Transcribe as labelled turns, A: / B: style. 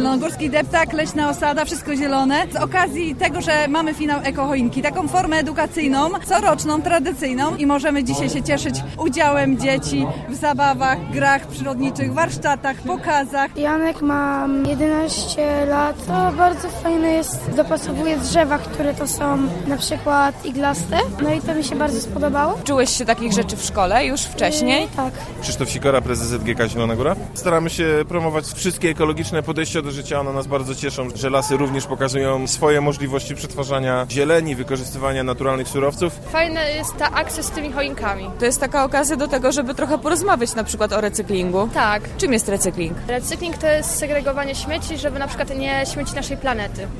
A: Zielonogórski deptak, leśna osada, wszystko zielone. Z okazji tego, że mamy finał Ekochoinki, taką formę edukacyjną, coroczną, tradycyjną i możemy dzisiaj się cieszyć udziałem dzieci w zabawach, grach przyrodniczych, warsztatach, pokazach.
B: Janek ma 11 lat. To bardzo fajne jest, dopasowuje drzewa, które to są na przykład iglaste. No i to mi się bardzo spodobało.
C: Czułeś się takich rzeczy w szkole już wcześniej?
B: Tak.
D: Krzysztof Sikora, prezes GK Zielona Góra. Staramy się promować wszystkie ekologiczne podejścia do życia. One nas bardzo cieszą, że lasy również pokazują swoje możliwości przetwarzania zieleni, wykorzystywania naturalnych surowców.
E: Fajna jest ta akcja z tymi choinkami.
C: To jest taka okazja do tego, żeby trochę porozmawiać na przykład o recyklingu.
E: Tak.
C: Czym jest recykling?
E: Recykling to jest segregowanie śmieci, żeby na przykład nie śmieci naszej planety.